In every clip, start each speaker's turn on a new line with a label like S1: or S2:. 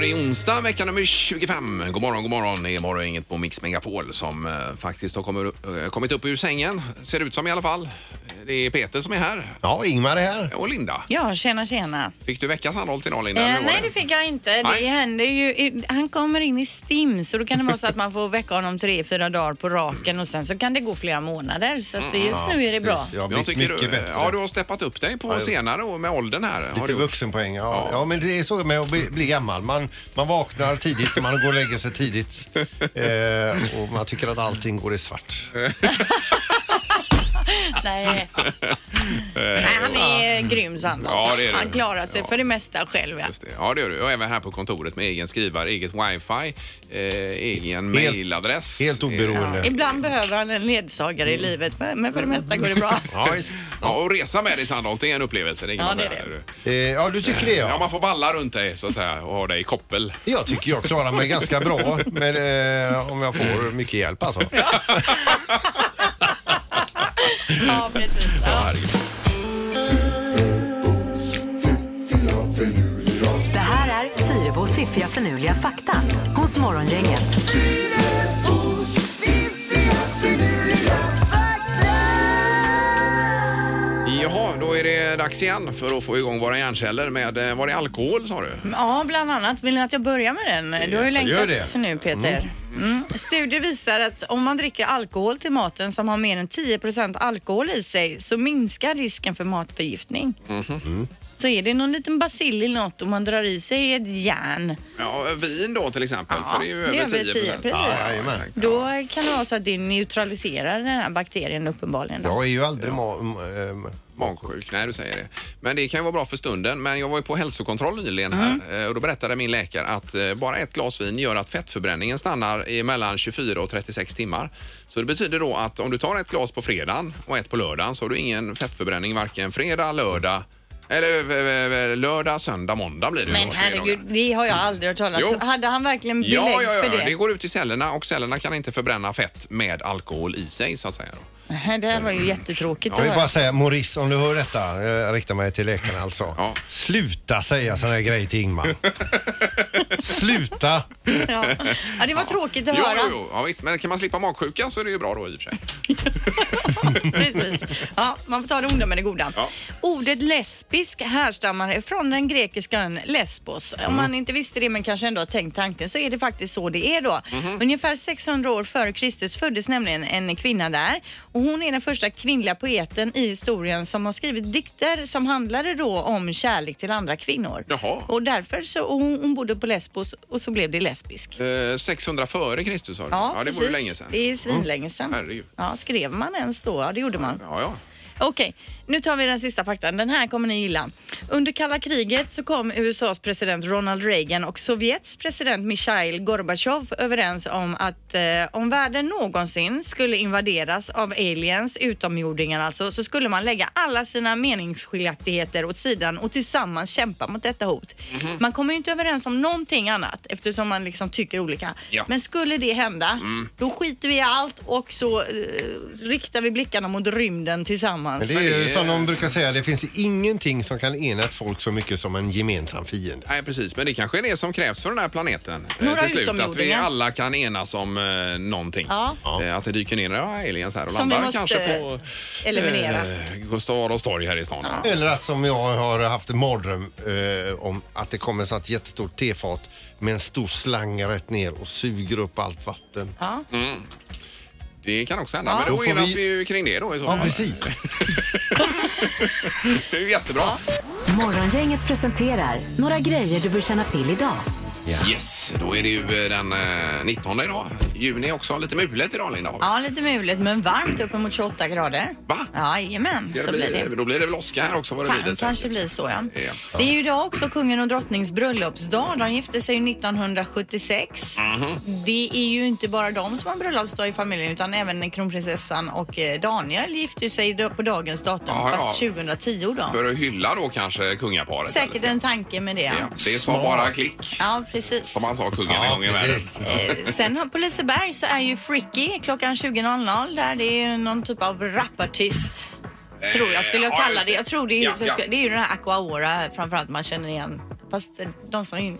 S1: det är onsdag vecka nummer 25. God morgon, god morgon. Det är morgon, inget på Mix Megapol som eh, faktiskt har kommit, eh, kommit upp ur sängen. Ser det ut som i alla fall. Det är Peter som är här
S2: Ja, Ingmar är här.
S1: och Linda.
S3: Ja, tjena tjena.
S1: Fick du veckans anhåll idag Linda? eller
S3: Eh,
S1: hur var
S3: nej, det fick jag inte.
S1: Nej.
S3: Det händer ju, han kommer in i STIM så då kan det vara så att man får väcka honom tre, fyra dagar på raken och sen så kan det gå flera månader. Så att det- just
S1: Mm.
S3: nu är det bra.
S2: Precis, Jag har
S1: Jag
S2: blivit
S1: tycker
S2: mycket
S1: du,
S2: bättre.
S1: ja, du har steppat upp dig på senare och med åldern här. har
S2: Lite
S1: du gjort.
S2: vuxenpoäng. Ja.
S1: Ja.
S2: Ja. men det är så med att bli, bli gammal. Man, man vaknar tidigt och man går och lägger sig tidigt. Eh, och man tycker att allting går i svart.
S3: Nej. nej, han är grym Sandholt.
S1: Eh, Ja, det är det.
S3: Han klarar sig
S1: Ja.
S3: för det mesta själv. Ja.
S1: Just det. Ja, det gör du. Och även här på kontoret med egen skrivare, eget wifi, eh, egen
S2: Helt-
S1: mailadress.
S2: Helt oberoende.
S3: Ibland behöver han en ledsagare i livet men för det mesta går det bra.
S2: Ja, visst.
S1: Mm. Eh, Ja, och resa med dig Sandholt, det är en upplevelse. Det kan
S3: Ja,
S1: man
S3: det är
S1: säga.
S3: det.
S2: Eh, ja, du tycker det
S1: Ja,
S2: ja.
S1: man får valla runt dig så att säga och ha dig i koppel.
S2: Jag tycker jag klarar mig ganska bra men, eh, om jag får mycket hjälp alltså.
S3: Ja, precis. Ja.
S4: Det här är Fyrabos fiffiga förnuliga fakta hos Morgongänget.
S1: Jaha, då är det dags igen för att få igång våra hjärnceller med, eh, var det alkohol sa du?
S3: Ja, bland annat. Vill ni att jag börjar med den? Du har ju
S2: gör det.
S3: längtat nu Peter. Mm. Studier visar att om man dricker alkohol till maten som har mer än 10 alkohol i sig så minskar risken för matförgiftning.
S1: Mm-hmm.
S3: Så är det någon liten bacill i något och man drar i sig ett järn,
S1: Ja, vin då till exempel, för det är ju
S3: det är
S1: över 10
S3: precis.
S2: jajamän.
S3: då kan det vara så att det neutraliserar den här bakterien uppenbarligen. Då.
S2: Jag är ju aldrig ma- m- ehm,
S1: Magsjuk, nej du säger det. Men det kan ju vara bra för stunden. Men jag var ju på hälsokontroll nyligen här
S3: Mm.
S1: eh, och då berättade min läkare att eh, bara ett glas vin gör att fettförbränningen stannar i mellan 24 och 36 timmar. Så det betyder då att om du tar ett glas på fredagen och ett på lördagen så har du ingen fettförbränning varken fredag, lördag eller eh, eh, lördag, söndag, måndag blir det. ju
S3: Men
S1: då,
S3: herregud,
S1: fredagar.
S3: det har jag aldrig hört talas
S1: Jo.
S3: om. Hade han verkligen belägg
S1: Ja, ja,
S3: för
S1: ja,
S3: det?
S1: det går ut i cellerna och cellerna kan inte förbränna fett med alkohol i sig så att säga. Då.
S3: Nej, Det här var ju
S2: Jag
S3: jättetråkigt att
S2: vill
S3: höra.
S2: bara säga Maurice, om du hör detta, jag riktar mig till läkarna alltså.
S1: Ja.
S2: Sluta säga sådana här grejer till Ingmar. Sluta!
S3: Ja. Ja, det var tråkigt att
S1: Jo,
S3: höra.
S1: jo, jo. Ja, visst. Men kan man slippa magsjukan så är det ju bra då i och för sig.
S3: Precis. Ja, man får ta det onda med det goda.
S1: Ja.
S3: Ordet lesbisk härstammar från den grekiska ön Lesbos.
S1: Mm.
S3: Om man inte visste det men kanske ändå har tänkt tanken så är det faktiskt så det är då.
S1: Mhm.
S3: Ungefär 600 år före Kristus föddes nämligen en kvinna där och hon är den första kvinnliga poeten i historien som har skrivit dikter som handlade då om kärlek till andra kvinnor.
S1: Jaha.
S3: Och därför så och hon, hon bodde på Lesbos och så blev det lesbisk.
S1: Eh, 600 före Kristus sa du?
S3: Ja,
S1: det
S3: precis.
S1: var ju länge sedan. Mm.
S3: Det är svinlänge sedan.
S1: Herregud.
S3: Ja, skrev man ens då? Ja, det gjorde man.
S1: Ja, ja.
S3: Okej, nu tar vi den sista faktan. Den här kommer ni gilla. Under kalla kriget så kom USAs president Ronald Reagan och Sovjets president Mikhail Gorbachev överens om att eh, om världen någonsin skulle invaderas av aliens, utomjordingar alltså, så skulle man lägga alla sina meningsskiljaktigheter åt sidan och tillsammans kämpa mot detta hot.
S1: Mhm.
S3: Man kommer ju inte överens om någonting annat eftersom man liksom tycker olika.
S1: Ja. Mm.
S3: Men skulle det hända, då skiter vi i allt och så eh, riktar vi blickarna mot rymden
S2: Men
S3: tillsammans.
S2: det är
S1: Men det
S2: ju
S1: är-
S2: som de brukar säga, det finns ingenting som kan ena ett folk så mycket som en gemensam fiende.
S1: Nej, precis. Men det kanske är det som krävs för den här planeten. eh,
S3: Några
S1: till slut, att vi
S3: utomjordingar.
S1: alla kan enas om eh, någonting.
S3: Ja.
S1: Eh, att det dyker ner några aliens här och
S3: Som vi
S1: landar
S3: måste
S1: kanske på
S3: eliminera.
S1: eh, Gustav Adolfs torg här i stan. Ja.
S2: Eller att som jag har haft en mardröm eh, om att det kommer ett sånt jättestort tefat med en stor slang rätt ner och suger upp allt vatten.
S3: Ja.
S1: Mm. Det kan också hända.
S3: Ja.
S1: Men
S2: Då
S1: då
S2: får
S1: enas
S2: vi-
S1: vi ju kring det då i så
S2: Ja,
S1: fall.
S2: precis.
S1: Det är ju jättebra.
S4: Morgongänget presenterar några grejer du bör känna till idag.
S1: Yes, då är det ju eh, den eh, 19 idag. Juni också. Lite mulet idag, Linda.
S3: ja, lite mulet men varmt uppemot 28 grader.
S1: Va?
S3: Ja, jajamän,
S1: Ska
S3: så blir det.
S1: Då blir det väl åska här också vad det blir.
S3: Kan,
S1: det säkert.
S3: kanske blir så ja.
S1: Ja.
S3: Det är ju idag också kungen och drottnings bröllopsdag. De gifte sig ju 1976.
S1: Mhm.
S3: Det är ju inte bara de som har bröllopsdag i familjen utan även kronprinsessan och eh, Daniel gifte ju sig då- på dagens datum
S1: Ja, ja.
S3: fast 2010 då.
S1: För att hylla då kanske kungaparet.
S3: Säkert
S1: eller?
S3: en tanke med det.
S1: Ja,
S3: Ja,
S1: det sa bara klick,
S3: ja precis.
S1: som han sa kungen en
S2: Ja,
S1: gång i världen.
S2: precis.
S3: Eh, Sen har- på Liseberg så är ju Fricky klockan 20.00 där. Det är ju någon typ av rapartist. Tror jag skulle jag
S1: Eh, ja,
S3: kalla
S1: just
S3: det. Jag tror det är,
S1: Ja,
S3: så
S1: ja.
S3: ska- det är ju den här Aquaora framförallt man känner igen. Fast eh, de som... är in-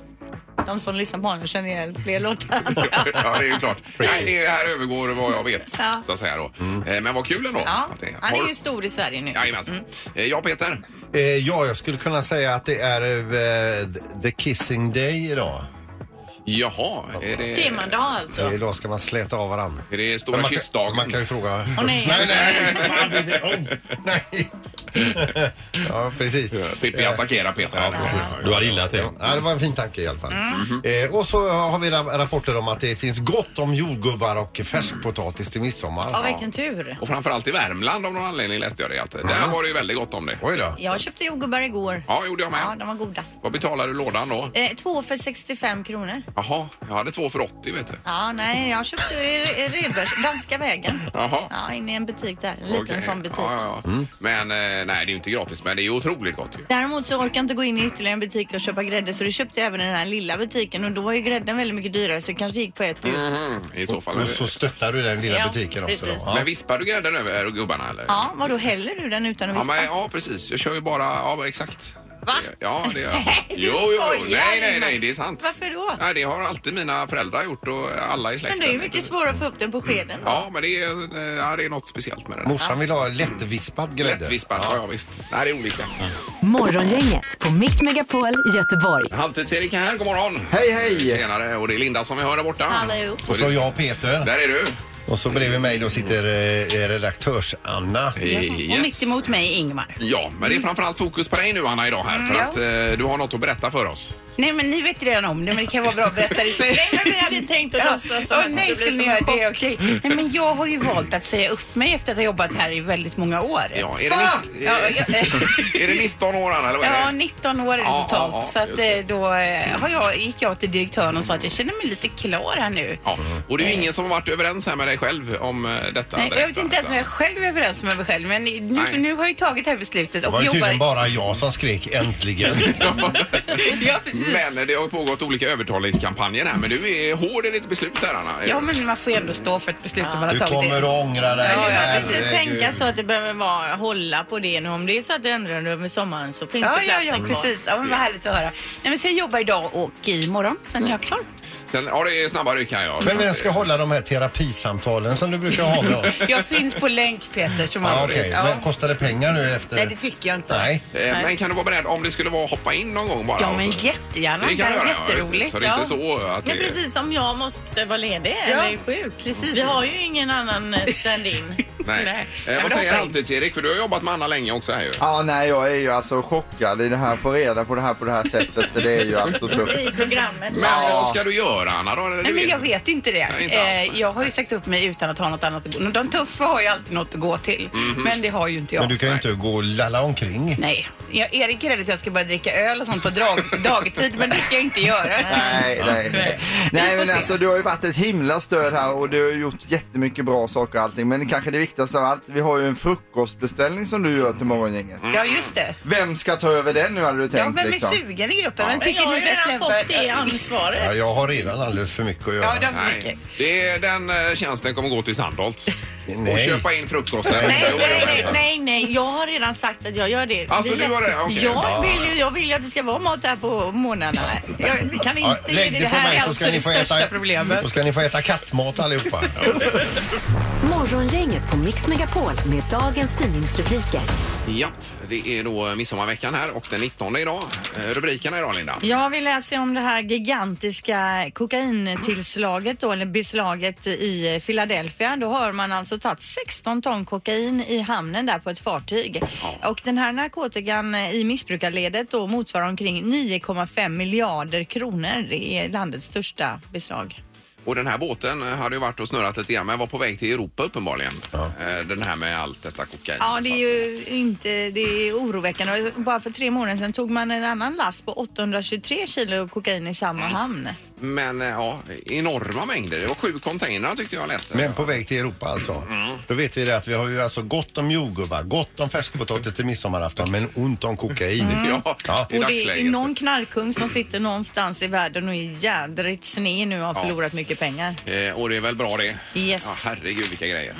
S3: De som lyssnar på honom känner igen fler låtar.
S1: ja, det är ju klart. Nej, det här övergår vad jag vet.
S3: Ja.
S1: Så att säga då.
S2: Mm.
S1: Eh, Men vad kul ändå.
S3: Ja,
S1: att det-
S3: han är
S1: Har-
S3: ju stor Mm. i Sverige nu.
S1: Jajamensan. Eh, Ja, Peter.
S2: Eh, ja, jag skulle kunna säga att det är eh, the kissing day idag.
S1: Jaha, är det...
S5: Temadag alltså.
S2: Eh, Idag ska man släta av varandra.
S1: Är det stora
S2: Men man,
S1: kyssdagen?
S2: kan, man kan ju fråga...
S5: Åh, nej.
S2: nej, nej, nej. nej. ja, precis.
S1: Eh, Pippi attackerar Peter här.
S6: Du har gillat det.
S2: Ja, det var en fin tanke i alla
S5: Mm.
S2: fall. Eh, och så har vi ra- rapporter om att det finns gott om jordgubbar och färskpotatis till midsommar.
S3: Ja, vilken tur.
S1: Och framförallt i Värmland av någon anledning läste jag det. Att där var det ju väldigt gott om det.
S2: Oj då.
S3: Jag köpte jordgubbar igår.
S1: Ja, gjorde jag
S3: Ja,
S1: med.
S3: de var goda.
S1: Vad betalade du lådan då?
S3: Eh, två för 65 kronor.
S1: Jaha, jag hade två för 80 vet du.
S3: Ja, nej, jag köpte i i Redbergs, Danska vägen.
S1: Jaha.
S3: Ja, inne i en butik där. En liten
S1: Okej.
S3: sån butik.
S1: Ja, ja, ja.
S2: Mm.
S1: Men eh, nej, det är ju inte gratis, men det är ju otroligt gott ju.
S3: Däremot så orkar jag inte gå in i ytterligare en butik och köpa grädde så då köpte jag även i den här lilla butiken och då var ju grädden väldigt mycket dyrare så det kanske gick på ett ut.
S1: Mm, I så fall.
S2: Mm-hmm. Och så stöttar du den lilla
S5: Ja,
S2: butiken också. Då.
S5: precis.
S2: Ja.
S1: Men vispar du grädden över gubbarna eller?
S3: Ja, vadå häller du den utan att
S1: Ja,
S3: vispa?
S1: men, ja, precis. Jag kör ju bara... Ja, exakt.
S3: Va?
S1: Ja, det gör jag.
S3: du
S1: jo, jo, jo.
S3: skojar,
S1: Nej, nej,
S3: Ingmar.
S1: nej, det är sant.
S3: Varför då?
S1: Nej, det har alltid mina föräldrar gjort och alla i
S3: Men
S1: släkten.
S3: det är ju mycket svårare att få upp den på skeden då.
S1: Ja, men det är, eh, ja, det är något speciellt med det. där.
S2: Morsan vill ha lättvispad grädde.
S1: Lättvispad, ja. ja visst. Nej, det är olika.
S4: Morgongänget på Mix Megapol Göteborg.
S1: Halvtids-Erik är här, god morgon.
S2: Hej, hej!
S1: Tjenare, och det är Linda som vi hör där borta.
S5: Hallå.
S1: Så
S2: Och så
S1: det,
S2: jag Peter.
S1: där är du.
S2: Och så bredvid mig då sitter eh, redaktörs-Anna.
S5: Och mitt emot mig Ingmar.
S1: Ja, men det är framförallt fokus på dig nu Anna idag här för
S5: Mm, Ja.
S1: att eh, du har något att berätta för oss.
S5: Nej men ni vet ju redan om det men det kan vara bra att berätta det för... nej men vi hade tänkt
S7: att låtsas som
S5: ja,
S7: att det
S5: nej,
S7: skulle bli
S5: skulle
S7: som
S5: ni
S7: en
S5: göra det, okej. Nej men jag har ju valt att säga upp mig efter att ha jobbat här i väldigt många år.
S1: Ja, är det,
S5: Va?
S1: ni-
S5: Ah! Ja, jag-
S1: är det 19 år Anna eller vad
S5: Ja,
S1: är det?
S5: 19 år är det
S1: Ja,
S5: totalt.
S1: ja, ja,
S5: så att,
S1: just det.
S5: eh, då eh, har jag, gick jag till direktören och sa att jag känner mig lite klar här nu.
S1: Ja, och det är ju ingen som har varit överens här med dig själv om eh, detta.
S5: Nej, jag
S1: direkt,
S5: vet inte ens om
S1: va?
S5: jag själv är överens med mig själv men nu,
S1: Nej.
S5: nu har jag ju tagit det här beslutet
S2: Det var
S5: och
S2: ju tydligen
S5: jobbar...
S2: bara jag som skrek äntligen.
S5: Ja, precis.
S1: Men eh, det har ju pågått olika övertalningskampanjer här men du är hård i ditt beslut här Anna.
S5: Ja, men man får ju ändå stå för ett beslut om man har
S2: Du
S5: tagit.
S2: kommer
S5: det.
S2: att ångra dig.
S5: Ja, ja,
S7: Jag
S2: Herregud.
S7: vill inte tänka så att det behöver vara, hålla på det nu. Om det är så att du ändrar dig över sommaren så finns
S5: Ja,
S7: det
S5: ja, ja,
S7: platsen kvar.
S5: precis. Ja, men vad härligt att höra. Nej, men så jag jobbar idag och imorgon, sen är jag klar.
S1: Sen, ja, det är snabba ryck här ja. Eh,
S2: Men vem ska hålla de här terapisamtalen som du brukar ha med oss?
S5: Jag finns på länk, Peter, som
S2: Ja,
S5: alltid.
S2: okej.
S5: Ja.
S2: Men kostar det pengar nu efter?
S5: Nej, det tycker jag inte.
S2: Nej.
S1: Eh, Men kan du vara beredd om det skulle vara hoppa in någon gång bara?
S5: Ja, men
S1: och så-
S5: jättegärna.
S1: Det
S5: Det
S1: kan du
S5: är
S1: göra, ja, just det.
S5: jätteroligt.
S1: Så det är inte så att det...
S7: Nej, precis som jag måste vara ledig eller är sjuk.
S5: Precis.
S7: Vi har ju ingen annan eh, stand-in.
S1: Nej.
S5: Nej.
S1: Eh,
S5: Jag
S1: vad
S5: vill
S1: säger
S5: hoppa in.
S1: Halvtids-Erik? För du har jobbat med Anna länge också här ju.
S8: Ja, nej, jag är ju alltså chockad i det här, få reda på det här på det här sättet. Det är ju alltså tufft.
S3: I programmet.
S1: Men
S8: Ja.
S1: vad ska du göra Anna då?
S5: Nej, men jag vet inte det.
S1: Nej, inte alls.
S5: Eh, jag har ju sagt upp mig utan att ha något annat att gå De tuffa har ju alltid något att gå till,
S1: Mhm.
S5: men det har ju inte jag.
S2: Men du kan ju inte gå och lalla omkring.
S5: Nej, jag, Erik är rädd att jag ska börja dricka öl och sånt på drag, dagtid, men det ska jag inte göra.
S8: Nej, nej, nej. Nej,
S5: får
S8: men
S5: se.
S8: alltså du har ju varit ett himla stöd här och du har gjort jättemycket bra saker och allting. Men kanske det viktigaste av allt, vi har ju en frukostbeställning som du gör till morgongänget.
S5: Ja, just det.
S8: Vem ska ta över den nu hade du
S5: Ja,
S8: tänkt
S5: vem är
S8: liksom?
S5: sugen i gruppen? Vem
S7: Men jag
S5: tycker
S7: har
S5: ni
S7: ju
S5: bäst
S7: redan fått det
S5: lämpar?
S7: ansvaret.
S2: Ja, jag har redan alldeles för mycket att
S5: Ja,
S2: göra.
S5: det har för mycket.
S1: Nej, det är, den eh, tjänsten kommer gå till Sandholt. Och
S2: Nej.
S1: köpa in frukosten.
S3: Nej,
S1: Jo, jo,
S3: nej, nej,
S1: jo.
S3: nej, nej, jag har redan sagt att jag gör det.
S1: Alltså,
S3: Vi-
S1: du har det? Okej. Ja,
S3: Jag vill ju jag vill ju att det ska vara mat här på morgnarna. Jag vi kan
S2: Ja,
S3: inte...
S2: lägg det på
S5: här
S2: mig
S5: är
S2: så
S5: alltså
S2: ska, ni
S5: det
S2: få
S5: största
S2: äta,
S5: problemet.
S2: så ska ni få äta kattmat allihopa.
S4: Morgongänget på Mix Megapol med dagens tidningsrubriker.
S1: Ja, det är då midsommarveckan här och den 19 idag. Eh, Rubrikerna idag Linda.
S3: Ja, vi läser om det här gigantiska kokaintillslaget då, eller beslaget i Philadelphia. Då har man alltså tagit 16 ton kokain i hamnen där på ett fartyg. Och den här narkotikan i missbrukarledet då motsvarar omkring 9,5 miljarder kronor. Det är landets största beslag.
S1: Och den här båten eh, hade ju varit och snurrat lite grann men var på väg till Europa uppenbarligen. Eh, Den här med allt detta kokain.
S3: Ja, det är ju inte, det är oroväckande. Och Bara för tre månader sedan tog man en annan last på 823 kilo kokain i samma hamn.
S1: Men eh, ja, enorma mängder. Det var sju containrar tyckte jag läste.
S2: Men på väg till Europa alltså.
S5: Mm.
S2: Då vet vi det att vi har ju alltså gott om jordgubbar, gott om färskpotatis till midsommarafton men ont om kokain.
S5: Mm.
S1: Ja,
S2: Ja.
S1: i
S3: Och det är
S1: dagsläget.
S3: någon knarkung som sitter någonstans i världen och är jädrigt sned nu och har förlorat mycket mycket pengar.
S1: Eh, och det är väl bra det.
S3: Yes. Mm.
S1: Ja, herregud vilka grejer.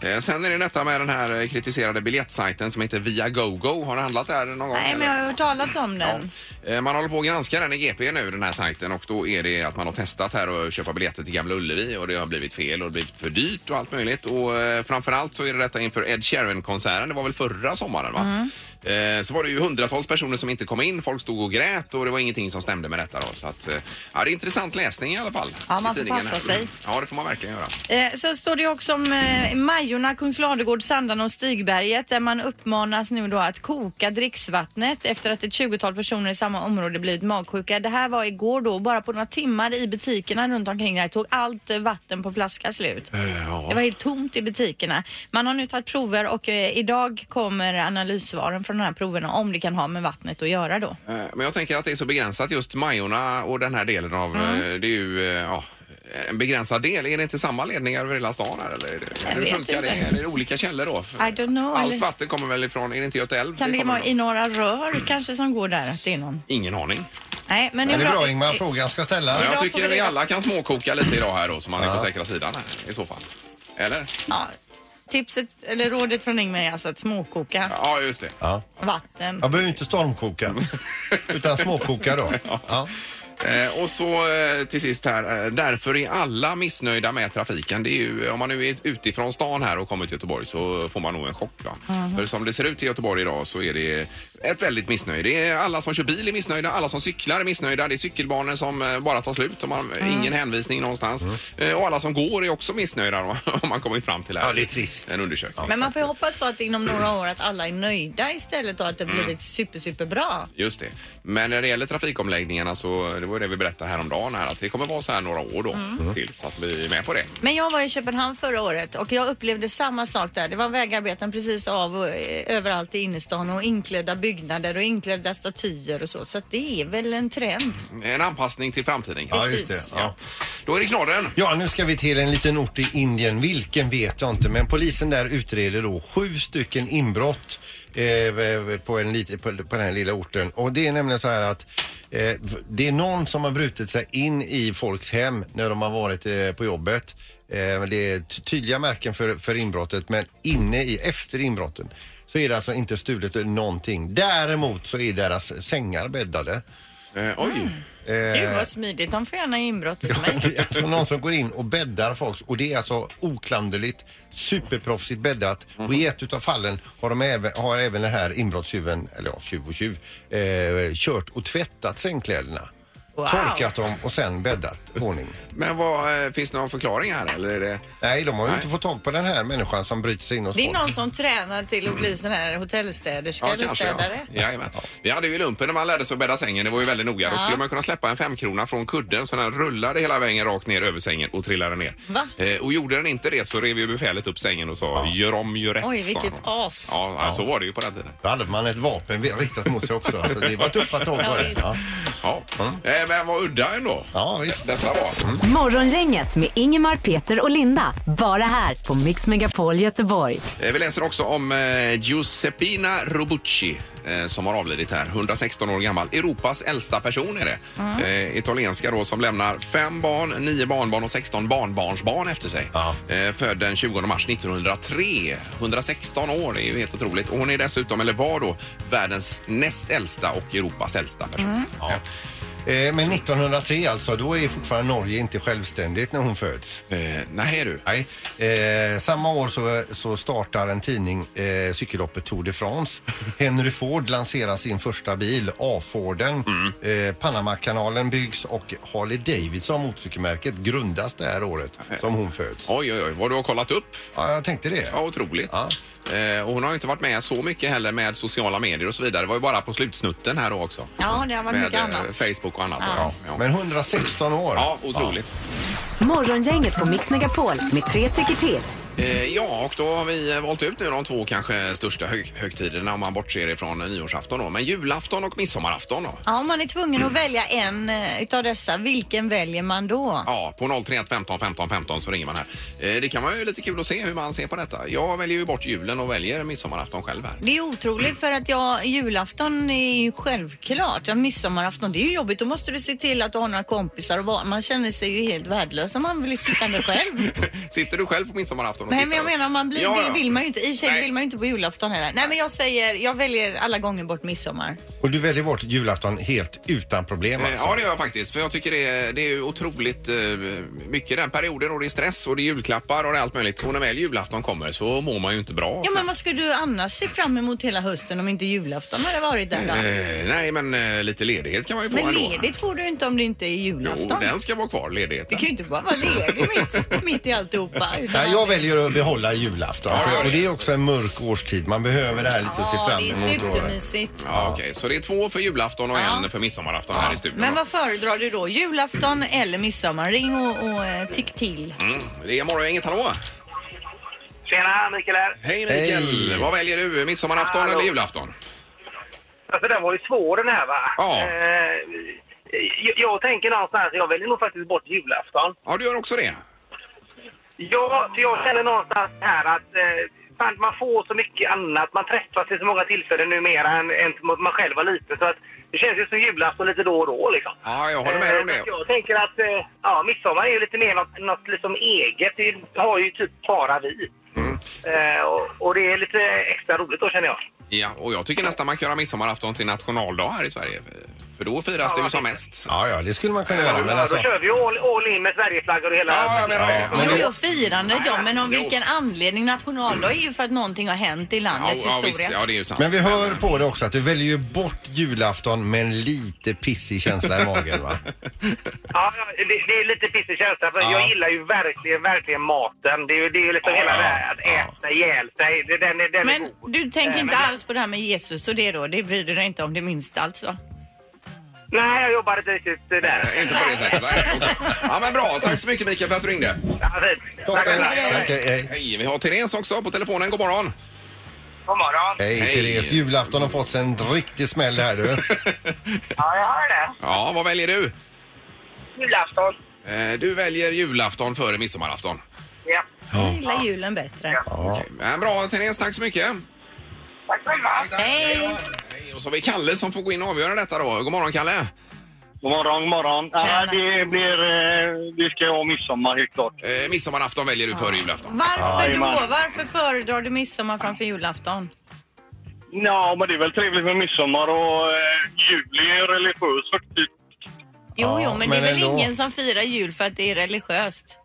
S1: Eh, sen är det detta med den här eh, kritiserade biljettsajten som heter Viagogo. Har du handlat där någon gång?
S3: Nej, men
S1: eller?
S3: jag har hört talas om den.
S1: Ja. Eh, Man håller på att granska den i GP nu, den här sajten. Och då är det att man har testat här att köpa biljetter till Gamla Ullevi och det har blivit fel och det har blivit för dyrt och allt möjligt. Och eh, framförallt så är det detta inför Ed Sheeran-konserten. Det var väl förra sommaren va?
S3: Mm.
S1: Eh, Så var det ju hundratals personer som inte kom in. Folk stod och grät och det var ingenting som stämde med detta då. Så att, eh, ja, det är intressant läsning i alla fall.
S3: Ja, man
S1: i
S3: får
S1: tidningen
S3: passa
S1: här.
S3: sig.
S1: Mm. Ja, det får man verkligen göra.
S3: Eh, sen står det också om eh, Majorna, Kungsladugård, Sandarne och Stigberget där man uppmanas nu då att koka dricksvattnet efter att ett 20-tal personer i samma område blivit magsjuka. Det här var igår då, bara på några timmar i butikerna runt omkring där tog allt eh, vatten på flaska slut. Det var helt tomt i butikerna. Man har nu tagit prover och eh, idag kommer analyssvaren från de här proverna om det kan ha med vattnet att göra då.
S1: Eh, Men jag tänker att det är så begränsat just Majorna och den här delen av...
S3: Mm.
S1: eh, Det är ju eh, ja, en begränsad del. Är det inte samma ledningar över hela stan här eller? Är det, hur
S3: vet
S1: funkar
S3: inte.
S1: det? Eller är det olika källor då?
S3: I don't know,
S1: Allt
S3: eller-
S1: vatten kommer väl ifrån, är det inte Göta älv?
S3: Kan det
S1: kommer
S3: vara
S1: ifrån?
S3: i några rör kanske som går där? Att det är någon...
S1: Ingen aning.
S3: Nej, men
S2: Men det är bra Ingmar, frågan ska ställas.
S1: Men jag
S3: Idag får
S1: tycker
S3: vi
S1: vi
S3: reda-
S1: alla kan småkoka lite idag här då så man är på säkra sidan här, i så fall. Eller?
S3: Ja, tipset, eller rådet från Ingmar är alltså att småkoka
S1: Ja, just det.
S2: Ja.
S3: vatten.
S2: Jag behöver inte stormkoka, utan småkoka då. Ja.
S1: Eh, och så eh, till sist här, eh, därför är alla missnöjda med trafiken. Det är ju, om man nu är utifrån stan här och kommer till Göteborg så får man nog en chock. Va?
S2: Mhm.
S1: För som det ser ut i Göteborg idag så är det ett väldigt missnöje. Det är alla som kör bil är missnöjda, alla som cyklar är missnöjda. Det är cykelbanor som eh, bara tar slut och man,
S2: Mm.
S1: ingen hänvisning någonstans. Eh, och alla som går är också missnöjda då, har man kommit fram till här.
S2: Ja, det är trist.
S1: En undersökning.
S3: Men man får ju hoppas då att inom några år att alla är nöjda istället och att det
S1: Mm.
S3: blivit super, superbra.
S1: Just det. Men när det gäller trafikomläggningarna så, det var ju det vi berättade häromdagen här, att det kommer vara så här några år då
S2: Mm.
S1: till så att vi är med på det.
S3: Men jag var i Köpenhamn förra året och jag upplevde samma sak där. Det var vägarbeten precis av och eh, överallt i innerstan och inklädda byggnader och inklädda statyer och så. Så att det är väl en trend.
S1: En anpassning till framtiden.
S2: Ja,
S1: kanske.
S2: just det. Ja.
S1: Då är det knorren.
S2: Ja, nu ska vi till en liten ort i Indien. Vilken vet jag inte, men polisen där utreder då sju stycken inbrott eh, på, en lit, på, på den här lilla orten. Och det är nämligen så här att eh, det är någon som har brutit sig in i folks hem när de har varit eh, på jobbet. Eh, det är ty- tydliga märken för, för inbrottet, men inne i, efter inbrotten så är det alltså inte stulet någonting. Däremot så är deras sängar bäddade.
S1: Eh, oj.
S7: Gud
S9: Eh.
S7: vad smidigt, de får gärna inbrott hos mig.
S2: Det är alltså någon som går in och bäddar folk och det är alltså oklanderligt, superproffsigt bäddat och i ett utav fallen har, de även, har även den här inbrottstjuven, eller ja, tjuv och tjuv, eh, kört och tvättat sängkläderna. Torkat dem och sen bäddat våning.
S1: Men vad, eh, finns det någon förklaring här eller? Är det...
S2: Nej, de har ju
S1: Nej.
S2: inte fått tag på den här människan som bryter sig in hos
S3: Det är
S2: folk.
S3: någon som tränar till att bli sån här hotellstäderska eller
S1: ja.
S3: städare.
S1: Jajamän. Vi hade ju i lumpen när man lärde sig att bädda sängen, det var ju väldigt noga. Då skulle man kunna släppa en femkrona från kudden så den rullade hela vägen rakt ner över sängen och trillade ner.
S3: Va?
S1: Eh, och gjorde den inte det så rev ju befälet upp sängen och sa gör om, gör rätt.
S3: Oj,
S1: sa
S3: vilket
S1: han.
S3: as.
S1: Ja, ja, så var det ju på den tiden.
S2: Då hade man ett vapen riktat mot sig också. Alltså, det var tuffa tag var det. Ja.
S1: Ja. Mm. Eh, men vad udda ändå.
S2: ja, visst.
S1: Detta var.
S4: Morgongänget med Ingemar, Peter och Linda. Bara här på Mix Megapol Göteborg.
S1: Eh, Vi läser också om eh, Giuseppina Robucci eh, som har avlidit här, 116 år gammal. Europas äldsta person är det.
S2: Mm.
S1: Eh, italienska då som lämnar fem barn, nio barnbarn och 16 barnbarnsbarn efter sig.
S2: Ja.
S1: Eh, född den 20 mars 1903. 116 år, det är ju helt otroligt. Och hon är dessutom, eller var då, världens näst äldsta och Europas äldsta person. Ja.
S2: Eh, Men 1903 alltså, då är fortfarande Norge inte självständigt när hon föds.
S1: Eh, nej du.
S2: Nej. Eh, samma år så, så startar en tidning eh, cykelloppet Tour de France. Henry Ford lanserar sin första bil, A-Forden. Eh, Panamakanalen byggs och Harley Davidson, motorcykelmärket, grundas det här året som hon föds.
S1: Oj, oj, oj, vad du har kollat upp.
S2: Ja, jag tänkte det.
S1: Ja, otroligt.
S2: Ja.
S1: Eh, och hon har ju inte varit med så mycket heller med sociala medier och så vidare. Det var ju bara på slutsnutten här då också.
S3: Ja, det har varit
S1: med
S3: mycket
S1: eh,
S3: annat.
S1: Facebook och annat. Ja, ja.
S2: Men 116 år.
S1: ja otroligt.
S4: Morgongänget på Mix Megapol med tre tycker till.
S1: Eh, ja, och då har vi eh, valt ut nu de två kanske största hög högtiderna om man bortser ifrån eh, nyårsafton då. Men julafton och midsommarafton då?
S3: Ja, om man är tvungen att välja en eh, utav dessa, vilken väljer man då?
S1: Ja, på 031 15 15 15 så ringer man här. Eh, det kan vara ju lite kul att se hur man ser på detta. Jag väljer ju bort julen och väljer midsommarafton själv här.
S3: Det är otroligt för att jag, julafton är ju självklart. Ja, midsommarafton, det är ju jobbigt. Då måste du se till att du har några kompisar och vara. Man känner sig ju helt värdelös om man vill sitta med själv.
S1: Sitter du själv på midsommarafton och
S3: Nej,
S1: tittar
S3: men jag
S1: då?
S3: menar man blir,
S1: Ja, ja.
S3: det vill man ju inte. I och för sig
S1: Nej.
S3: vill man ju inte på julafton heller. Nej, men jag säger, jag väljer alla gånger bort midsommar.
S2: Och du väljer bort julafton helt utan problem
S1: Eh, Ja,
S2: alltså.
S1: det gör jag faktiskt. För jag tycker det är, det är ju otroligt eh, mycket den perioden och det är stress och det är julklappar och det är allt möjligt. Och när väl julafton kommer så mår man ju inte bra.
S3: Ja, men vad skulle du annars se fram emot hela hösten om inte julafton hade varit där då?
S1: Eh, nej, men eh, lite ledighet kan man ju få
S3: Men
S1: ändå.
S3: ledigt får du inte om det inte är
S1: Jo,
S3: julafton.
S1: den ska vara kvar, ledigheten.
S3: Du kan ju inte bara vara ledig mitt, mitt i alltihopa. utan-
S2: Nej, jag väljer att behålla julafton.
S1: Ja, ja,
S2: för, och det
S1: ja.
S2: är också en mörk årstid. Man behöver det här lite att se
S3: Ja,
S2: fram
S3: det
S2: emot.
S3: är
S2: då.
S3: supermysigt.
S1: Ja, okej. Så det är två för julafton och en för midsommarafton här i studion.
S3: Men vad föredrar du då? Julafton eller midsommar? Ring och, och eh, tyck till.
S1: Mm. Det är morgongänget, hallå!
S6: Tjena, Mikael här.
S1: Hej Mikael!
S2: Hej.
S1: Vad väljer du? Midsommarafton
S6: Hallå.
S1: eller julafton?
S6: Alltså den var ju svår den här va?
S1: Ja.
S6: Eh, jag, jag tänker någonstans, jag väljer nog faktiskt bort julafton.
S1: Ja, du gör också det?
S6: Ja, för jag känner någonstans här att eh, fan, man får så mycket annat. Man träffas i så många tillfällen numera än, än mot man själv var liten. Så att det känns ju som julafton lite då och då liksom.
S1: Ja, jag håller med om
S6: Eh,
S1: det.
S6: så Jag tänker att eh, ja, midsommar är ju lite mer något, något liksom eget. Det har ju typ bara vi.
S1: Mm.
S6: Eh, och, och det är lite extra roligt då känner jag.
S1: Ja, och jag tycker nästan man kan göra midsommarafton till nationaldag här i Sverige. För då firas det ju som mest.
S2: Ja, ja, det skulle man kunna göra. Men
S6: Ja,
S2: alltså,
S6: då kör vi ju all, all in med Sverigeflaggor och hela...
S1: Ja, jag menar det.
S2: Ja,
S3: Men
S2: men
S3: jo,
S2: det-
S3: jo, firandet ja, men om
S1: Jo.
S3: vilken anledning. Nationaldag är ju för att någonting har hänt i
S1: Ja,
S3: landets
S1: ja, visst.
S3: historia.
S1: Ja, det är ju sant.
S2: men vi hör på det också att du väljer ju bort julafton med en lite pissig känsla i magen va?
S6: Ja, det, det är lite pissig känsla. För
S2: Ja.
S6: Jag gillar ju verkligen, verkligen maten. Det är ju, det är ju liksom
S2: Ja,
S6: hela
S2: ja,
S6: det här att
S2: ja.
S6: äta ihjäl sig. Det- Den, är- den är
S7: Men
S6: god.
S7: du tänker
S6: Eh,
S7: inte
S6: men-
S7: alls på det här med Jesus och det då? Det bryr du dig inte om det minsta alltså?
S6: Nej, jag jobbar inte riktigt där.
S1: Nej, Eh, Inte på det sättet. Nej, okej. Ja, men bra. Tack så mycket Mikael för att du ringde.
S6: Ja, fint. Tack, tack.
S2: Tack, hej, hej.
S1: Hej, vi har Therese också på telefonen. God morgon!
S6: God morgon.
S2: Hej,
S1: Hej.
S2: Therese, julafton har fått sig en riktig smäll här du.
S6: Ja, jag hör det.
S1: Ja, vad väljer du?
S6: Julafton.
S1: Eh, Du väljer julafton före midsommarafton.
S6: Ja.
S3: Jag gillar julen bättre.
S2: Ja.
S1: Ja, bra Therese, tack så mycket.
S6: Tack själva.
S1: Hej! Hej, Och så har vi Kalle som får gå in och avgöra detta då. God morgon Kalle!
S10: God morgon, god morgon. Ja, det blir... eh, Vi ska ju ha midsommar helt klart.
S1: Eh, midsommarafton väljer du före julafton.
S7: Varför då?
S10: Jajamän.
S7: Varför föredrar du midsommar framför julafton?
S10: Ja, men det är väl trevligt med midsommar och eh, jul är ju religiös högtid.
S7: Jo,
S2: Ja,
S7: jo, men, det
S2: men
S7: är väl
S2: ändå.
S7: ingen som firar jul för att det är religiöst?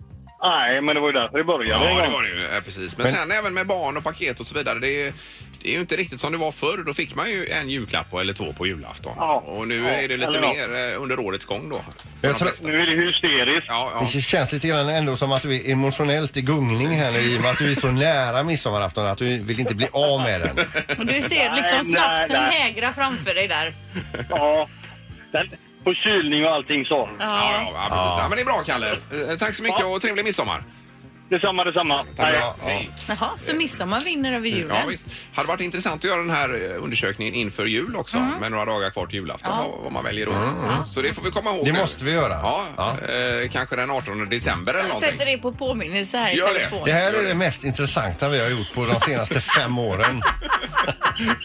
S10: Nej, men det var ju därför det
S1: Ja,
S10: började. en
S1: det
S10: gång.
S1: var det ju. eh, Precis. Men,
S2: Men-
S1: sen även med barn och paket och så vidare. Det är, det är ju inte riktigt som det var förr. Då fick man ju en julklapp eller två på julafton.
S10: Ja.
S1: Och nu
S10: Ja,
S1: är det lite
S10: eller ja.
S1: mer eh, under årets gång då.
S2: Jag tror-
S10: Nu är det hysteriskt.
S1: Ja, ja.
S2: Det känns lite grann ändå som att du är emotionellt i gungning här nu i och med att du är så nära midsommarafton att du vill inte bli av med den.
S7: Och du ser liksom
S10: nej,
S7: snapsen
S10: nej.
S7: hägra framför dig där.
S10: Ja. Den, och kylning och allting så.
S1: Ja, ja, ja, precis. Ja, men det är bra, Kalle. Eh, Tack så mycket
S10: Ja.
S1: och trevlig midsommar.
S10: Detsamma, detsamma.
S2: Ja,
S10: Nej.
S2: ja.
S7: Jaha, så midsommar vinner över julen?
S1: Ja, visst. Hade varit intressant att göra den här eh, undersökningen inför jul också
S10: Mm.
S1: med några dagar kvar till julafton vad- vad man väljer då. Så det får vi komma ihåg.
S2: Mm, Det
S1: nu.
S2: måste vi göra.
S1: Ja,
S2: Ja.
S1: Eh, kanske den 18 december eller
S7: Jag
S1: någonting.
S7: sätter det på påminnelse här i
S1: Gör det.
S7: telefon.
S2: Det här är det mest intressanta vi har gjort på de senaste fem åren.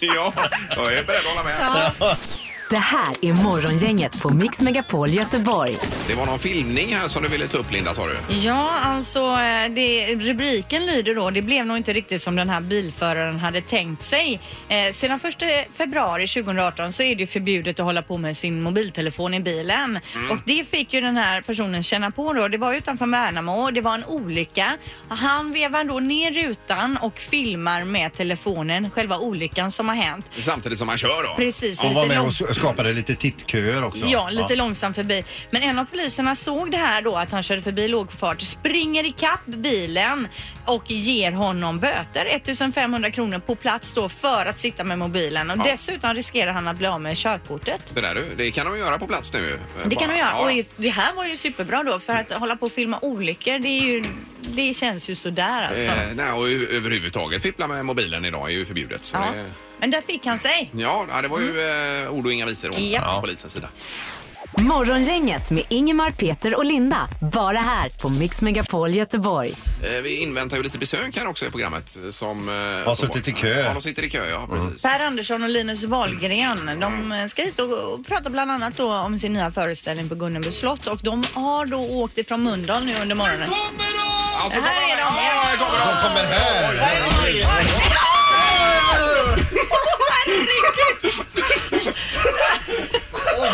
S1: ja, jag är beredd att hålla med.
S4: Det här är Morgongänget på Mix Megapol Göteborg.
S1: Det var någon filmning här som du ville ta upp, Linda, sa du?
S3: Ja, alltså eh, det, rubriken lyder då, det blev nog inte riktigt som den här bilföraren hade tänkt sig. Eh, sedan 1 februari 2018 så är det ju förbjudet att hålla på med sin mobiltelefon i bilen. Och det fick ju den här personen känna på då. Det var utanför Värnamo och det var en olycka. Han vevar då ner rutan och filmar med telefonen själva olyckan som har hänt.
S1: Samtidigt som man kör då?
S3: Precis,
S2: Och var
S3: lite
S2: med
S3: lång-
S2: och so- skapade lite tittköer också.
S3: Ja, lite långsamt förbi. Men en av poliserna såg det här då, att han körde förbi i lågfart, springer i kapp bilen och ger honom böter, 1500 kronor på plats då för att sitta med mobilen. Och
S1: Ja.
S3: dessutom riskerar han att bli av med körkortet.
S1: Det, där, du, det kan de göra på plats nu.
S3: Det kan de göra.
S1: Ja,
S3: Och det här var ju superbra då för att hålla på och filma olyckor, det, är ju, det känns ju sådär alltså.
S1: Eh, nej, och ö- överhuvudtaget fippla med mobilen idag är ju förbjudet. Så
S3: Ja.
S1: det,
S3: Men där fick han sig.
S1: ja, ja, det var ju eh, ord och inga visor hon-
S3: Ja.
S1: från polisens sida.
S4: Morgongänget med Ingemar, Peter och Linda. Bara här på Mix Megapol Göteborg.
S1: Eh, vi inväntar ju lite besök här också i programmet. eh, Som, eh,
S2: suttit i kö.
S1: Ja, de sitter i kö, ja precis.
S3: Per Andersson och Linus Wahlgren, de eh, ska hit och, och prata bland annat då om sin nya föreställning på Gunnebo slott och de har då åkt ifrån Mölndal nu under morgonen.
S1: Alltså,
S3: här
S1: kommer
S3: är de.
S1: Ja, här kommer de.
S2: Som kommer här.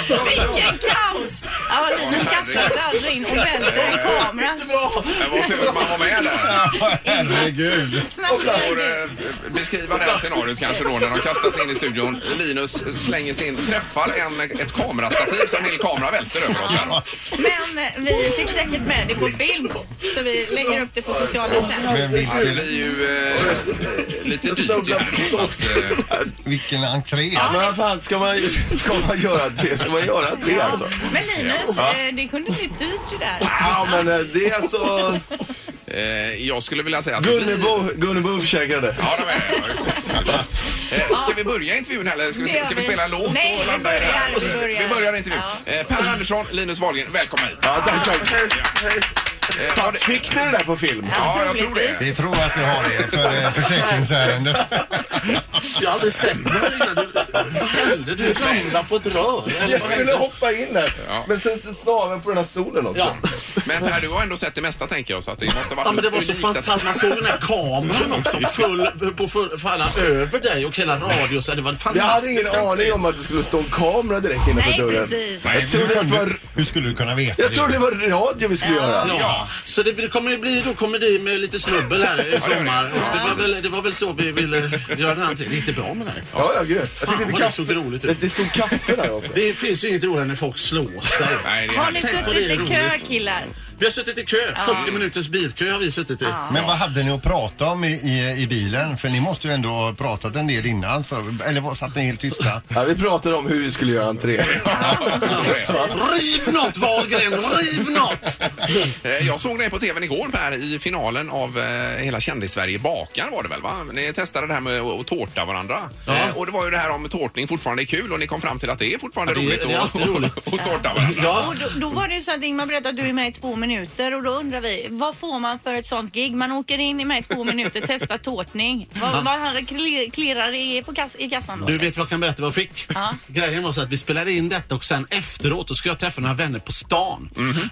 S3: Vilken kaos! Ja, Linus kastar sig alltså in och välter en kamera.
S1: Det var tur att man var med där.
S2: Herregud.
S1: Du får eh, beskriva det här scenariot kanske då när de kastas in i studion. Linus slänger sig in, träffar en, ett kamerastativ så en hel kamera välter över oss här. då.
S3: Men eh, vi fick säkert med det på film så vi lägger upp det på sociala sen.
S2: Men
S1: Ja, Det
S2: vilken,
S1: blir ju eh, lite dyrt det här. Så att, eh,
S2: vilken entré.
S8: Men vad fan, ska man, ska man göra det? Ska man göra det alltså?
S3: Men Linus, eh, det kunde bli dyrt det där.
S8: Ja, men eh, det är alltså...
S1: eh, jag skulle vilja säga att det blir...
S8: Gunnebo, Gunnebo försäkrade.
S1: Ja, de är ja, just det. Eh, Ska vi börja intervjun eller ska vi,
S3: Det gör
S1: ska vi
S3: vi.
S1: spela en låt?
S3: Nej,
S1: och
S3: vi
S1: landa i det här?
S3: börjar, vi börjar.
S1: Vi börjar intervjun. Eh, Per Andersson, Linus Wahlgren, välkomna hit.
S8: Ja, tack, tack.
S1: Eh, var
S8: Fan,
S1: det-
S8: fick ni det där på film?
S1: Ja, jag tror det.
S2: Vi tror att vi har det för eh, försäkringsärendet.
S9: Jag har aldrig sett mig. Vad hände? Du ramlade på ett rör.
S8: Jag skulle hoppa in
S1: Ja.
S8: här, men sen så snaven på den här stolen också.
S9: Ja.
S1: Men Per, du har ändå sett det mesta tänker jag så att det måste ha varit
S9: Ja, men det var
S1: något
S9: så
S1: unikt att-
S9: fantastiskt. Man såg den här kameran också full, på full, falla över dig och hela radion. Så Det var
S8: Jag hade ingen
S9: fantastiskt.
S8: aning om att det skulle stå en kamera direkt innanför
S3: Nej,
S8: dörren.
S3: precis.
S2: Nej,
S8: tror det
S2: hur, kunde,
S8: var-
S2: hur skulle du kunna veta
S8: Jag trodde det
S2: det?
S8: var radio vi skulle göra.
S9: Ja, så det kommer ju bli då komedi med lite snubbel här i sommar. Och det, var väl, det var väl så vi ville göra den här till. Det gick det bra med dig?
S8: Ja, ja, gud. Jag
S9: Fan,
S8: tyckte det,
S9: vad det såg roligt
S8: kaffe,
S9: ut.
S8: det stod kaffe där också.
S9: Det finns ju inget roligare än när folk slår sig.
S1: Nej, det är
S3: Har ni
S1: härligt.
S3: suttit i kö killar?
S9: Vi har suttit i kö. 40 minuters bilkö har vi suttit i.
S2: Men vad hade ni att prata om i, i, i bilen? För ni måste ju ändå ha pratat en del innan. Så, eller vad- satt ni helt tysta?
S8: Ja, vi pratade om hur vi skulle göra entré.
S9: Riv något Wahlgren, riv något!
S1: Eh, Jag såg dig på tvn igår Per i finalen av eh, hela Kändis-Sverige bakar var det väl va? Ni testade det här med att tårta varandra. Eh, och det var ju det här om tårtning fortfarande är kul och ni kom fram till att det är fortfarande
S9: Ja, det är-
S1: roligt
S9: det är
S1: att-
S9: alltid roligt.
S1: att tårta varandra.
S9: Ja,
S3: Och då, då var det ju så att Ingmar berättade att du är med i två minuter och då undrar vi vad får man för ett sånt gig? Man åker in i med i två minuter, testar tårtning. Vad, vad han kli- klirrar i, på kass, i kassan då?
S9: Du vet vad jag kan berätta vad jag fick?
S3: Ja.
S9: Grejen var så att vi spelade in detta och sen efteråt så skulle jag träffa några vänner på stan.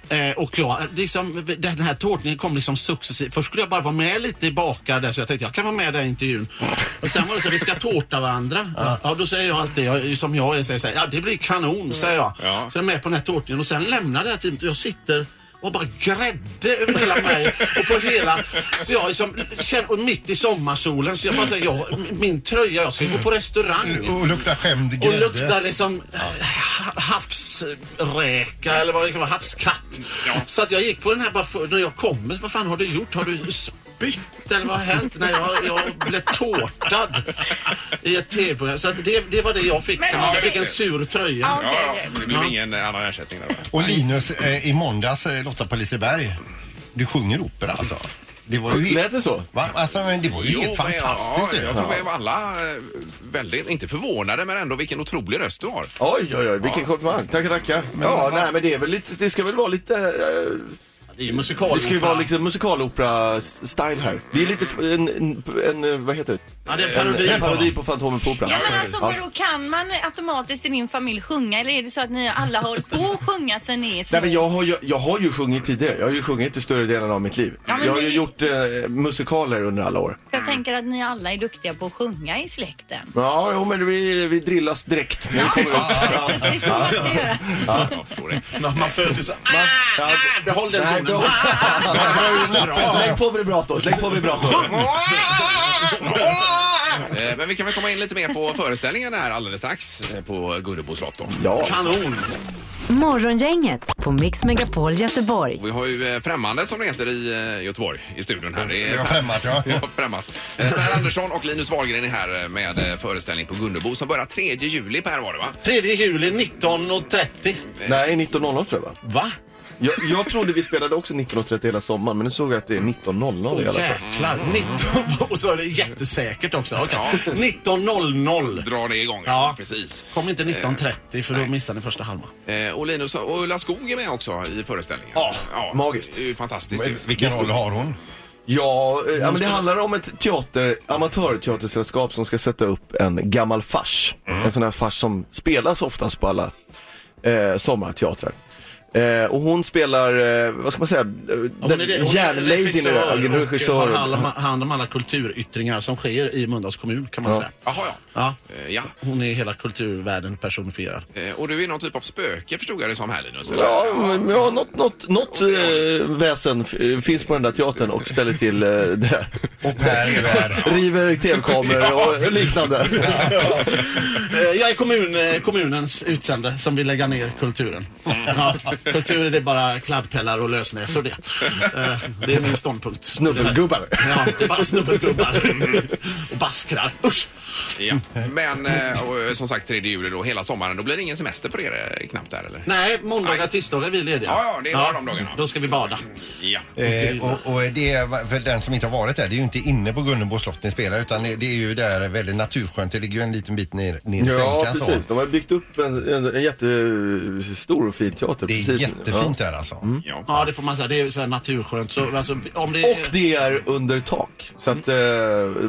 S9: Eh, och jag, liksom, den här tårtningen kom liksom successivt. Först skulle jag bara vara med lite i bakar där så jag tänkte jag kan vara med i den här intervjun. Och sen var det så att vi ska tårta varandra. Ja. då säger jag alltid jag, som jag är, säger så här, ja det blir kanon säger jag.
S1: Ja.
S9: Så jag är med på den här tårtningen och sen lämnar det här teamet och jag sitter och bara grädde över hela mig och på hela... Så jag liksom, känner, och mitt i sommarsolen så jag bara säger, jag, min tröja, jag ska gå på restaurang.
S2: Och lukta skämd
S9: Och
S2: grädde.
S9: luktar liksom ha- havsräka eller vad det kan vara, havskatt. Så att jag gick på den här bara för, när jag kommer, vad fan har du gjort? Har du spytt eller vad har hänt? när jag, jag blev tårtad i ett tv-program. Så att det, det var det jag fick.
S3: Men-
S9: jag fick en sur tröja.
S1: Ja, ja, det blev ingen annan ersättning där. va?
S2: Och Linus, eh, i måndags, eh, Lotta på Liseberg. Du sjunger opera alltså. Det var ju
S8: Lät
S2: helt,
S8: det så?
S2: va? Alltså, men det var ju helt
S1: men jag-
S2: fantastiskt.
S1: Ja,
S2: ju.
S1: jag tror vi var alla eh, väldigt, inte förvånade, men ändå vilken otrolig röst du har.
S8: Oj, oj, oj, vilken
S1: Ja.
S8: komplimang. Tackar, tackar. Ja,
S2: vad-
S8: nej, men det är väl lite, det ska väl vara lite, eh,
S9: Det är ju musikal.
S8: det ska ju vara liksom musikalopera-style här. Det är lite f- en, en, en eh, vad heter det?
S9: Ja, det är en
S8: En,
S9: parodi.
S8: en parodi på Fantomen på Operan.
S3: Ja men alltså
S8: Ja.
S3: vadå, kan man automatiskt i din familj sjunga eller är det så att ni alla har hållit på att sjunga sen ni är små?
S8: Nej, men jag, har ju, jag har ju sjungit tidigare. Jag har ju sjungit i större delen av mitt liv.
S3: men
S8: jag har ju
S3: det-
S8: gjort eh, musikaler under alla år.
S3: För jag tänker att ni alla är duktiga på att sjunga i släkten.
S8: Ja, jo, men vi, vi drillas direkt. när vi kommer ut.
S3: Precis, det är så man ska göra.
S1: Ja. Jag förstår det.
S9: Ja, Man föds ju så. Ah,
S8: Ja.
S9: ah, behåll den
S8: Nej,
S9: tonen.
S8: behåll-
S9: Ah,
S8: Lägg på vibratorn, lägg på vibratorn.
S1: Eh, Men vi kan väl komma in lite mer på föreställningen här alldeles strax eh, på Gullebo slott då.
S11: Ja.
S5: Kanon!
S4: Morgongänget på Mix Megapol Göteborg.
S1: Vi har ju eh, Främmande som det heter i eh, Göteborg i studion här. Det är-
S2: Vi har främmat, ja.
S1: Ja, främmat. Eh, Per Andersson och Linus Wahlgren är här eh, med eh, föreställning på Gunnebo som börjar 3 juli Per var det va?
S5: 3 juli 19.30.
S9: Nej, 19.00 tror jag va?
S5: Va?
S9: Jag, jag trodde vi spelade också 19.30 hela sommaren men nu såg jag att det är 19.00 i alla fall.
S5: Jäklar, 19... Och så är det jättesäkert också. Okej. 19.00.
S1: Drar det igång,
S5: ja.
S1: precis.
S5: Kom inte 19.30 för då missar ni första halvan.
S1: Eh, Och Linus och Ulla Skog är med också i föreställningen.
S9: Ja,
S1: magiskt. Det är ju fantastiskt.
S2: Men vilken roll har hon?
S9: Ja, eh, ja men det handlar om ett teater, amatörteatersällskap som ska sätta upp en gammal fars.
S5: Mm.
S9: En sån här fars som spelas oftast på alla eh, sommarteatrar. Eh, och hon spelar, eh, vad ska man säga, eh, den järnladyn i det där,
S5: regissör. och har alla- hand om alla kulturyttringar som sker i Mölndals kommun kan man
S9: Ja.
S5: säga.
S1: Jaha, ja.
S5: Ja.
S1: Eh, Ja,
S5: Hon är hela kulturvärlden personifierad.
S1: Eh, och du är någon typ av spöke förstod jag det som här Linus? eller?
S9: Ja, men, ja något, något, något eh, väsen f- eh, finns på den där teatern och ställer till eh, det.
S2: Och Per är värd.
S9: River tv-kameror och liknande.
S5: Eh, Jag är kommun, eh, kommunens utsände som vill lägga ner kulturen.
S1: Mm.
S5: Ja, kultur det är bara kladdpellar och lösnäsor det. Eh, Det är min ståndpunkt.
S9: Snubbelgubbar.
S5: Ja, det är bara snubbelgubbar. Och baskrar. Usch!
S1: Ja. Men eh, och, eh, som sagt 3 juli då hela sommaren. Då blir det ingen semester för er eh, knappt där eller?
S5: Nej, måndagar, tisdagar är vi lediga.
S1: Ja, ja, det är bara de dagarna.
S5: Då ska vi bada.
S1: Ja.
S2: Eh, och, och det är, för den som inte har varit där, det är ju inte inne på Gunnebo slott ni spelar utan det, det är ju där väldigt naturskönt. Det ligger ju en liten bit ner, ner i
S9: Ja,
S2: sänkan. så.
S9: precis. De har byggt upp en, en, en jättestor och fin teater.
S2: Det är
S9: precis. Mm.
S2: jättefint där alltså.
S5: Ja, det får man säga. Det är ju så här naturskönt. Så, alltså, om det
S9: Ja. Och det är under tak. Så att eh,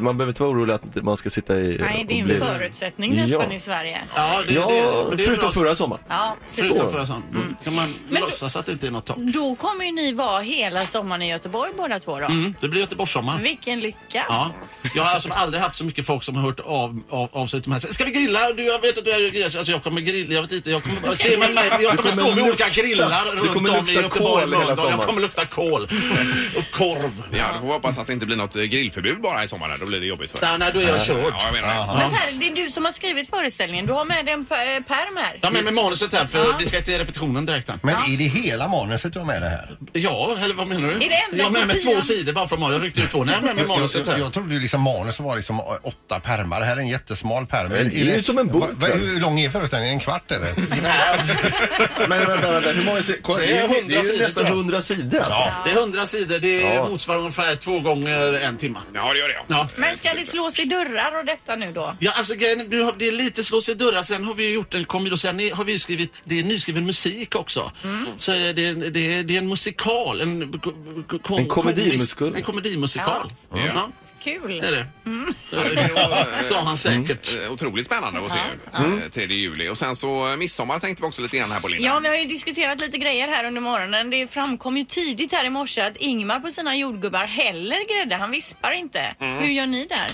S9: man behöver inte vara orolig att man ska sitta i...
S3: Nej, det är
S9: och
S3: en
S9: bli-
S3: förutsättning nästan
S9: Ja.
S3: i Sverige.
S5: Ja, det,
S9: Ja,
S5: det, men det är alltså
S9: förutom
S5: bra.
S9: förra sommaren.
S3: Ja, precis.
S5: Förutom förra sommaren. Mm. Kan man
S3: Men-
S5: låtsas att det inte är något tak?
S3: Då kommer ju ni vara hela sommaren i Göteborg båda två då.
S5: Mm, det blir Göteborgssommar.
S3: Vilken lycka.
S5: Ja. Jag har alltså aldrig haft så mycket folk som har hört av, av, av sig till mig. Ska vi grilla? Du, jag vet att du är grillar. Alltså, jag kommer grilla. Jag vet inte. Jag kommer, se med mig, jag kommer
S9: kommer
S5: stå vid
S9: lukta-
S5: olika grillar
S9: du
S5: runt
S9: kommer
S5: om i
S9: lukta
S5: Göteborg.
S9: kol hela
S5: London. Jag
S9: sommaren.
S5: kommer lukta kol och korv.
S1: Ja, då får vi hoppas att det inte blir något eh, grillförbud bara i sommar. Då blir det jobbigt för er.
S5: Nej, nej, då är jag körd.
S1: Ja, jag menar det.
S3: Men Per, det är du som har skrivit föreställningen. Du har med dig en p- eh, pärm här.
S5: Jag har med mig manuset här för vi ska till repetitionen direkt. Här.
S2: Men är det hela manuset du har med det här?
S5: Ja, eller vad menar du?
S3: det enda
S5: jag har med mig
S3: kopian?
S5: två sidor bara från morgonen. Jag ryckte ut två. Nej, jag har med mig
S2: Jag, jag,
S5: manuset
S2: jag,
S5: här.
S2: jag trodde ju liksom manus var liksom åtta pärmar. Det här är en jättesmal pärm.
S9: det är ju som en bok,
S2: va- va-
S9: va?
S2: hur lång är föreställningen? En kvart eller?
S9: Men vänta, vänta. Hur många sidor? Kolla,
S5: Det
S9: det
S5: är 100
S9: är, ju- det är
S5: sidor,
S9: ju nästan
S5: tror jag.
S9: 100 sidor. Alltså.
S5: Det är hundra sidor. Det
S9: Ja.
S5: motsvarar ungefär två gånger en timme.
S1: Ja, det gör det ja.
S5: Ja.
S3: Men ska det slås i dörrar och detta nu då?
S5: Ja, alltså grejen är- nu har det är lite slås i dörrar. Sen har vi ju gjort en komedi och sen är- har vi ju skrivit, det är nyskriven musik också. Så eh, det, är- det, är- det är en musikal. En, ko- ko- ko-
S9: En komedimusikal.
S5: komisk- En komedimusikal. Ja. Mm.
S1: Ja.
S5: det
S3: Kul.
S5: är det.
S1: var, eh,
S5: Sa han
S9: Mm.
S5: säkert. Mm.
S1: Eh, Otroligt spännande att se eh, 3 juli. Och sen så eh, midsommar tänkte vi också lite grann här på Linda.
S3: Ja, vi har ju diskuterat lite grejer här under morgonen. Det framkom ju tidigt här i morse att Ingmar på sina jordgubbar häller grädde. Han vispar inte. Hur gör ni där?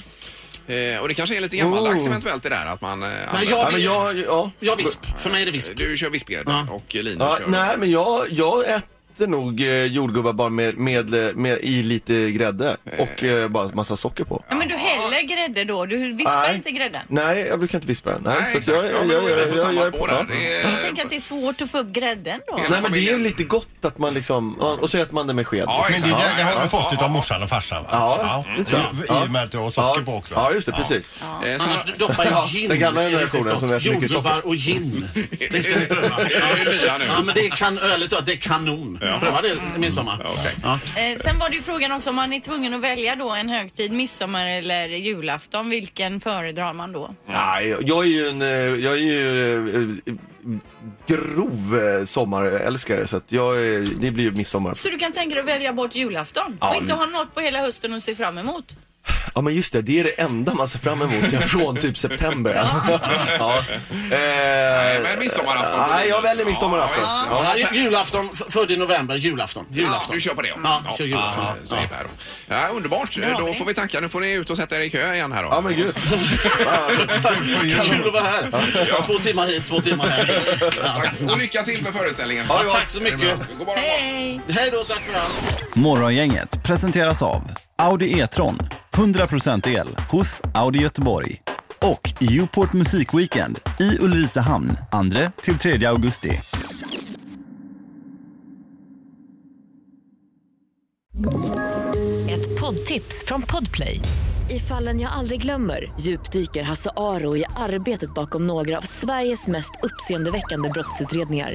S1: Eh, och det kanske är lite gammaldags eventuellt det där att man... eh, använder-
S5: Oh. jag-
S9: Ja, men jag, ja.
S5: Ja, visp. För mig är det visp.
S1: Eh, Du kör vispgrädde
S5: Ja.
S1: och Linus
S9: Ja,
S1: kör...
S9: nej, men jag, jag äter nog eh, jordgubbar bara med, med, med, i lite grädde och eh, bara massa socker på.
S3: Ja, men du häller grädde då. Du vispar
S9: Nej.
S3: inte grädden.
S9: Nej, jag brukar inte vispa den. Nej,
S1: Nej,
S9: så att
S1: exakt. ja, men då är vi på samma
S9: jag-
S1: spår
S9: ja.
S1: där. Det är-
S3: Tänk att det är svårt att få upp grädden då.
S1: Ja.
S9: Nej, men det är ju lite gott att man liksom, ja, och så äter man det med sked.
S1: Ja,
S2: Men det,
S1: exakt.
S2: det, det har
S1: Ja,
S2: du fått
S1: ja,
S2: utav morsan och farsan va?
S9: Ja, det tror
S2: I,
S9: jag.
S2: I och med att du har socker
S9: ja.
S2: på också.
S9: Ja, just det, precis.
S1: ja. Eh, sen-
S5: Annars doppar jag gin.
S9: den gamla
S5: i riktigt
S9: generationen
S5: gott.
S9: som äter mycket
S5: Jordgubbar och gin. Det ska ni pröva.
S1: Det är ju nya nu.
S5: Ja, men det kan, ölet det är kanon. Pröva det i midsommar.
S1: Okej.
S5: Ja.
S3: Eh, sen var det ju frågan också om man är tvungen att välja då en högtid, midsommar eller julafton. Vilken föredrar man då?
S9: Nej, jag är ju en, eh, jag är ju eh, eh, grov eh, sommarälskare så att jag, är- det blir ju midsommar.
S3: Så du kan tänka dig att välja bort julafton
S9: Ja,
S3: och inte
S9: men-
S3: ha något på hela hösten att se fram emot?
S9: Ja men just det, det är det enda man ser fram emot ja, från typ september. ja.
S1: Nej,
S9: eh,
S1: men midsommarafton.
S9: Nej, jag väljer
S1: Ja,
S9: midsommarafton.
S1: visst.
S9: Ja.
S5: Ja, ju- julafton, f- födde i november, julafton. julafton.
S1: Du kör på det?
S5: Ja, kör julafton.
S1: Ja, säger Per då. ja, underbart.
S3: har
S1: Då
S3: vi.
S1: får vi tacka. Nu får ni ut och sätta er i kö igen här då.
S9: Ja men gud.
S5: Kul att vara här. Två timmar hit, två timmar här. Ja.
S1: Tack. Och lycka till med föreställningen.
S5: Ja, tack så mycket.
S1: God morgon.
S3: Hej!
S5: Hej då, tack för allt.
S8: Morgongänget presenteras av Audi E-tron. 100% el hos Audi Göteborg. och Uport musikweekend i Ulricehamn 2-3 augusti.
S4: Ett poddtips från Podplay. I fallen jag aldrig glömmer djupdyker Hasse Aro i arbetet bakom några av Sveriges mest uppseendeväckande brottsutredningar.